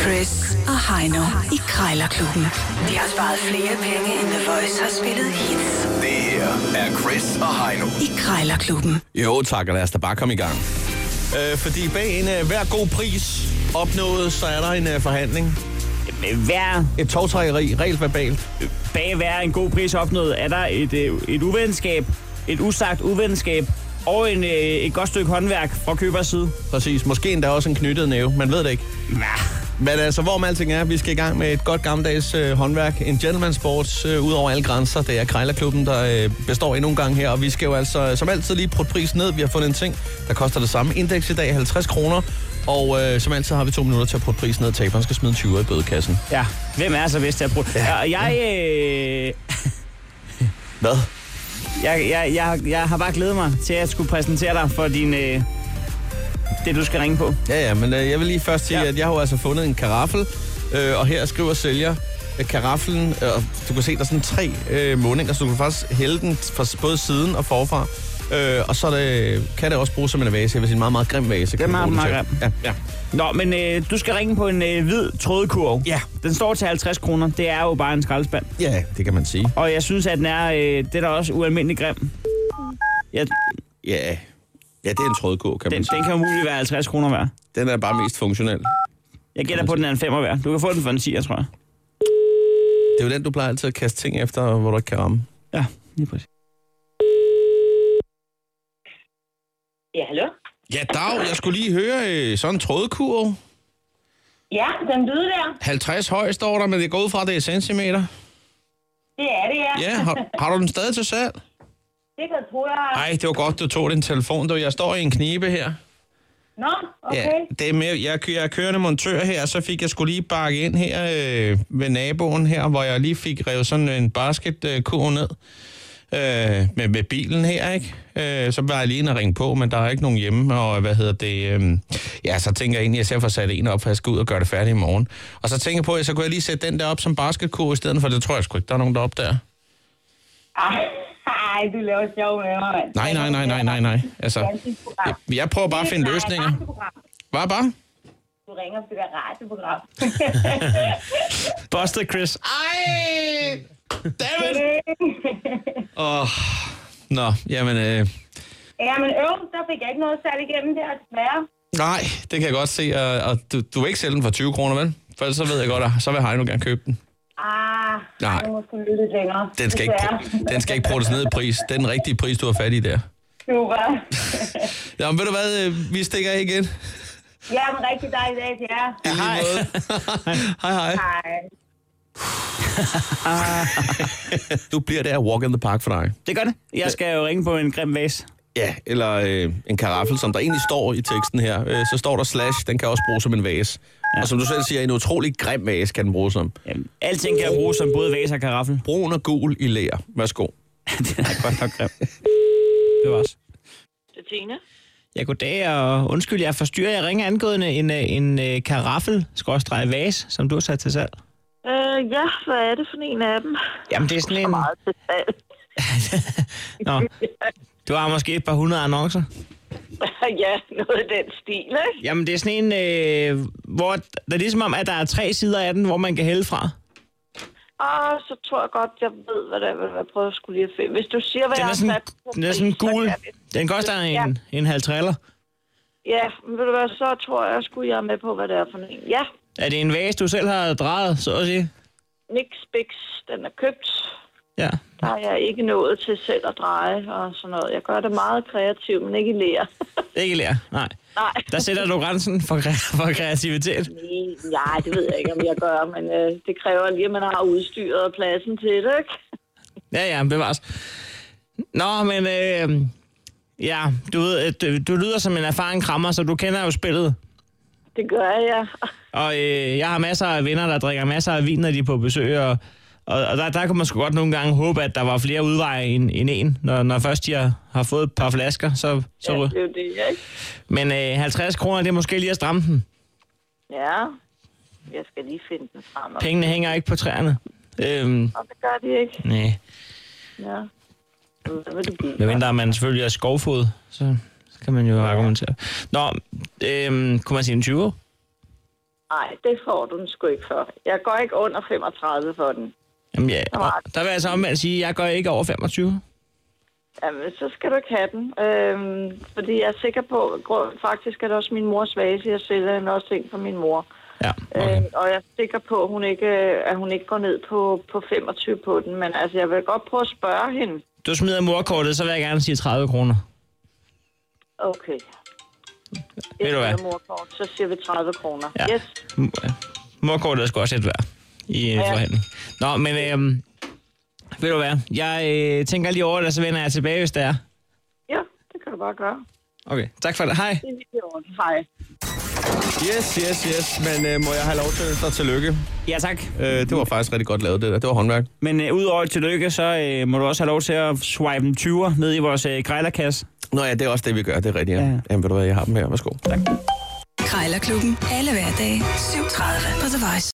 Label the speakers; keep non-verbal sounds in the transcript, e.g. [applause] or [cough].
Speaker 1: Chris og Heino i Krejlerklubben. De har sparet flere penge, end The Voice har spillet hits
Speaker 2: Det her er Chris og Heino.
Speaker 1: i Krejlerklubben.
Speaker 3: Jo tak, og lad os da bare komme i gang. Øh, fordi bag en øh, hver god pris opnået, så er der en øh, forhandling.
Speaker 4: Øh, Hver,
Speaker 3: Et togtrækkeri, rent verbalt.
Speaker 4: bag hver en god pris opnået, er der et, øh, et uvenskab, et usagt uvenskab og en, øh, et godt stykke håndværk fra købers side.
Speaker 3: Præcis. Måske endda også en knyttet næve, man ved det ikke.
Speaker 4: Ja.
Speaker 3: Men altså, hvor alting er, vi skal i gang med et godt gammeldags øh, håndværk. En gentleman sport øh, ud over alle grænser. Det er Krejlerklubben, der øh, består endnu en gang her. Og vi skal jo altså, øh, som altid, lige prøve prisen ned. Vi har fundet en ting, der koster det samme. Indeks i dag 50 kroner. Og øh, som altid har vi to minutter til at putte prisen ned. Taberen skal smide en 20 i bødekassen.
Speaker 4: ja. Hvem er så bedst til at bruge? Ja. Og jeg, øh,
Speaker 3: Hvad?
Speaker 4: jeg, jeg, jeg, jeg har bare glædet mig til at skulle præsentere dig for din, øh, det, du skal ringe på.
Speaker 3: Ja, ja, men øh, jeg vil lige først sige, ja.
Speaker 4: Ja.
Speaker 3: at jeg har jo altså fundet en karaffel, øh, og her skriver sælger øh, karaflen, øh, og du kan se, der er sådan tre øh, målinger, så du kan faktisk hælde den fra s- både siden og forfra. Øh, og så er det, kan det også bruges som en vase, jeg vil sige en meget, meget grim vase. kan
Speaker 4: Den
Speaker 3: man
Speaker 4: er
Speaker 3: bruge
Speaker 4: meget
Speaker 3: den til. Ja, ja.
Speaker 4: Nå, men øh, du skal ringe på en øh, hvid trådekurv.
Speaker 3: Ja.
Speaker 4: Den står til 50 kroner. Det er jo bare en skraldespand.
Speaker 3: ja, det kan man sige.
Speaker 4: Og jeg synes, at den er, øh, den er også ualmindelig grim. Jeg,
Speaker 3: Ja, ja det er en trådkurv, kan
Speaker 4: den,
Speaker 3: man sige.
Speaker 4: den kan umuligt være 50 kroner værd.
Speaker 3: Den er bare mest funktionel. Det
Speaker 4: Jeg gætter på, at den er en femmer værd. Du kan få den for en 10'er, tror jeg.
Speaker 3: er jo den, du plejer altid at kaste ting efter, hvor du ikke kan ramme.
Speaker 4: Ja, lige præcis.
Speaker 5: Ja, hallo?
Speaker 3: Ja, Dag, jeg skulle lige høre øh, sådan en trådkurv.
Speaker 5: Ja, den lyder der.
Speaker 3: 50 høj står der, men det går ud fra, at det er centimeter.
Speaker 5: Det er det, ja.
Speaker 3: Ja, har, har du den stadig til salg?
Speaker 5: Det kan tro jeg.
Speaker 3: Nej, det var godt, du tog din telefon. Du, jeg står i en knibe her.
Speaker 5: Nå, okay.
Speaker 3: Ja, det er med, jeg, kø- jeg er kørende montør her, så fik jeg skulle lige bakke ind her øh, ved naboen her, hvor jeg lige fik revet sådan en basketkurv ned øh, med, med bilen her, ikke? Øh, så var jeg lige inde og ringe på, men der er ikke nogen hjemme, og hvad hedder det? Øh, ja, så tænker jeg egentlig, at jeg selv får sat en op, for jeg skal ud og gøre det færdigt i morgen. Og så tænker jeg på, at så kunne jeg lige sætte den der op som basketkurv i stedet for, det tror jeg sgu ikke, der er nogen, der opdager.
Speaker 5: Ej, ej, du laver sjov med mig, mand.
Speaker 3: Nej, nej, nej, nej, nej, nej. Altså, jeg, jeg prøver bare at finde
Speaker 5: Det er et
Speaker 3: løsninger.
Speaker 5: radioprogram.
Speaker 3: Hvad bare?
Speaker 5: Du ringer til et radioprogram. [laughs]
Speaker 4: Busted, Chris.
Speaker 3: Ej! Dammit! Åh, oh, nå, jamen, øh,
Speaker 5: ja, men øv, der fik jeg ikke noget særligt igennem der, desværre.
Speaker 3: nej, det kan jeg godt se, og, og du, du vil ikke sælge den for 20 kroner, vel? For ellers så ved jeg godt, at så vil Heino gerne købe den.
Speaker 5: Ah,
Speaker 3: Nej.
Speaker 5: nej. nu må skulle lytte lidt længere.
Speaker 3: Den skal, ikke,
Speaker 5: Desværre.
Speaker 3: den skal ikke bruges ned i pris. Det er den rigtige pris, du har fat i der.
Speaker 5: Super.
Speaker 3: Jamen, ved du hvad, øh, vi stikker ikke ind.
Speaker 5: Ja, en rigtig dejlig dag til jer.
Speaker 3: I lige
Speaker 4: Hej.
Speaker 3: måde. hej, hej.
Speaker 5: Hej.
Speaker 3: Du bliver der walk in the park for dig.
Speaker 4: Det gør det. Jeg skal jo ringe på en grim vase.
Speaker 3: Ja, eller øh, en karaffel, som der egentlig står i teksten her. Øh, så står der slash, den kan også bruges som en vase. Ja. Og som du selv siger, en utrolig grim vase kan den bruges som.
Speaker 4: Jamen, alting kan jeg bruge som både vase og [laughs] karaffel.
Speaker 3: Brun og gul i læger. Værsgo.
Speaker 4: den er godt nok grim. Det var også.
Speaker 5: Det er Tina.
Speaker 4: Ja, goddag, og undskyld, jeg forstyrrer. Jeg ringer angående en, øh, en, en karaffel, skråstrej vase, som du har sat til salg.
Speaker 5: Øh, ja, hvad er det for en af dem?
Speaker 4: Jamen, det er sådan en...
Speaker 5: Meget til salg.
Speaker 4: [laughs] Nå. Du har måske et par hundrede annoncer.
Speaker 5: [laughs] ja, noget af den stil, ikke?
Speaker 4: Jamen, det er sådan en, øh, hvor der er ligesom om, at der er tre sider af den, hvor man kan hælde fra.
Speaker 5: Og Ah, så tror jeg godt, jeg ved, hvad det er, hvad jeg prøver skulle lige at finde. Hvis du siger, hvad
Speaker 4: Den
Speaker 5: jeg
Speaker 4: er
Speaker 5: har
Speaker 4: sådan,
Speaker 5: sat på
Speaker 4: den er
Speaker 5: pris,
Speaker 4: sådan
Speaker 5: så
Speaker 4: gul.
Speaker 5: kan vi-
Speaker 4: Den koster en, en halv træller.
Speaker 5: Ja, men ved du hvad, så tror jeg, skulle jeg er med på, hvad det er for en. Ja,
Speaker 4: Er det en vase, du selv har drejet, så at sige?
Speaker 5: Nix Bix, den er købt.
Speaker 4: Ja.
Speaker 5: Der er jeg ikke nået til selv at dreje og sådan noget. Jeg gør det meget kreativt, men ikke i lære.
Speaker 4: Ikke lær, nej.
Speaker 5: [laughs] Nej.
Speaker 4: Der sætter du grænsen for, kre- [laughs] for kreativitet.
Speaker 5: Nej, det ved jeg ikke, om jeg gør, men øh, det kræver lige, at man har udstyret og pladsen til det, ikke?
Speaker 4: Ja, ja, bevares. Nå, men øh, ja, du, ved, at, øh, du lyder som en erfaren krammer, så du kender jo spillet.
Speaker 5: Det gør jeg.
Speaker 4: Og øh, jeg har masser af venner, der drikker masser af vin, når de er på besøg, og, og, og der, der kunne man sgu godt nogle gange håbe, at der var flere udveje end, end en, når, når først de har, har fået et par flasker. Så, så,
Speaker 5: Ja,
Speaker 4: ja.
Speaker 5: det er jo det, ikke?
Speaker 4: Men øh, 50 kroner, det er måske lige at stramme den.
Speaker 5: Ja, jeg skal lige finde den frem. og-
Speaker 4: Pengene hænger ikke på træerne. Øhm,
Speaker 5: Og det gør de ikke.
Speaker 4: nej,
Speaker 5: Ja. Hvad vil du give? mig?
Speaker 4: medmindre man selvfølgelig er skovfod, så, så kan man jo argumentere. Nå, øhm, kunne man sige en 20'er?
Speaker 5: Nej, det får du den sgu ikke for. Jeg går ikke under 35 for den.
Speaker 4: Jamen, ja. og Der vil jeg så omvendt sige, at jeg går ikke over 25.
Speaker 5: Jamen, så skal du ikke have den. Øhm, fordi jeg er sikker på, grund- faktisk er det også min mors vase, jeg sælger hende også ting for min mor.
Speaker 4: Ja, okay.
Speaker 5: Øhm, og jeg er sikker på, at hun ikke, at hun ikke går ned på, på 25 på den. Men altså, jeg vil godt prøve at spørge hende.
Speaker 4: Du smider morkortet, så vil jeg gerne sige 30 kroner.
Speaker 5: Okay.
Speaker 4: Ved du hvad?
Speaker 5: Jeg smider morkort, så siger vi 30 kroner.
Speaker 4: Ja.
Speaker 5: Yes.
Speaker 4: M- Morkortet er sgu også et værd i en
Speaker 5: Ja.
Speaker 4: forhandling. Nå, men øhm, ved du hvad? Jeg øh, tænker lige over det, og så vender jeg tilbage, hvis det er.
Speaker 5: Ja, det kan du bare gøre.
Speaker 4: Okay, tak for det. Hej.
Speaker 5: Det er lige i orden. Hej.
Speaker 3: Yes, yes, yes. Men øh, må jeg have lov til at ønske dig tillykke?
Speaker 6: Ja, tak.
Speaker 3: Øh, det var faktisk rigtig godt lavet, det der. Det var håndværk.
Speaker 6: Men øh, udover et tillykke, så øh, må du også have lov til at swipe en 20'er ned i vores øh, grejlerkasse.
Speaker 3: Nå ja, det er også det, vi gør. Det er rigtigt, ja.
Speaker 6: Ja.
Speaker 3: ja. Jamen, ved du hvad, jeg har dem her. Værsgo.
Speaker 1: Krejlerklubben. Alle hverdage. 7.30 på The Voice.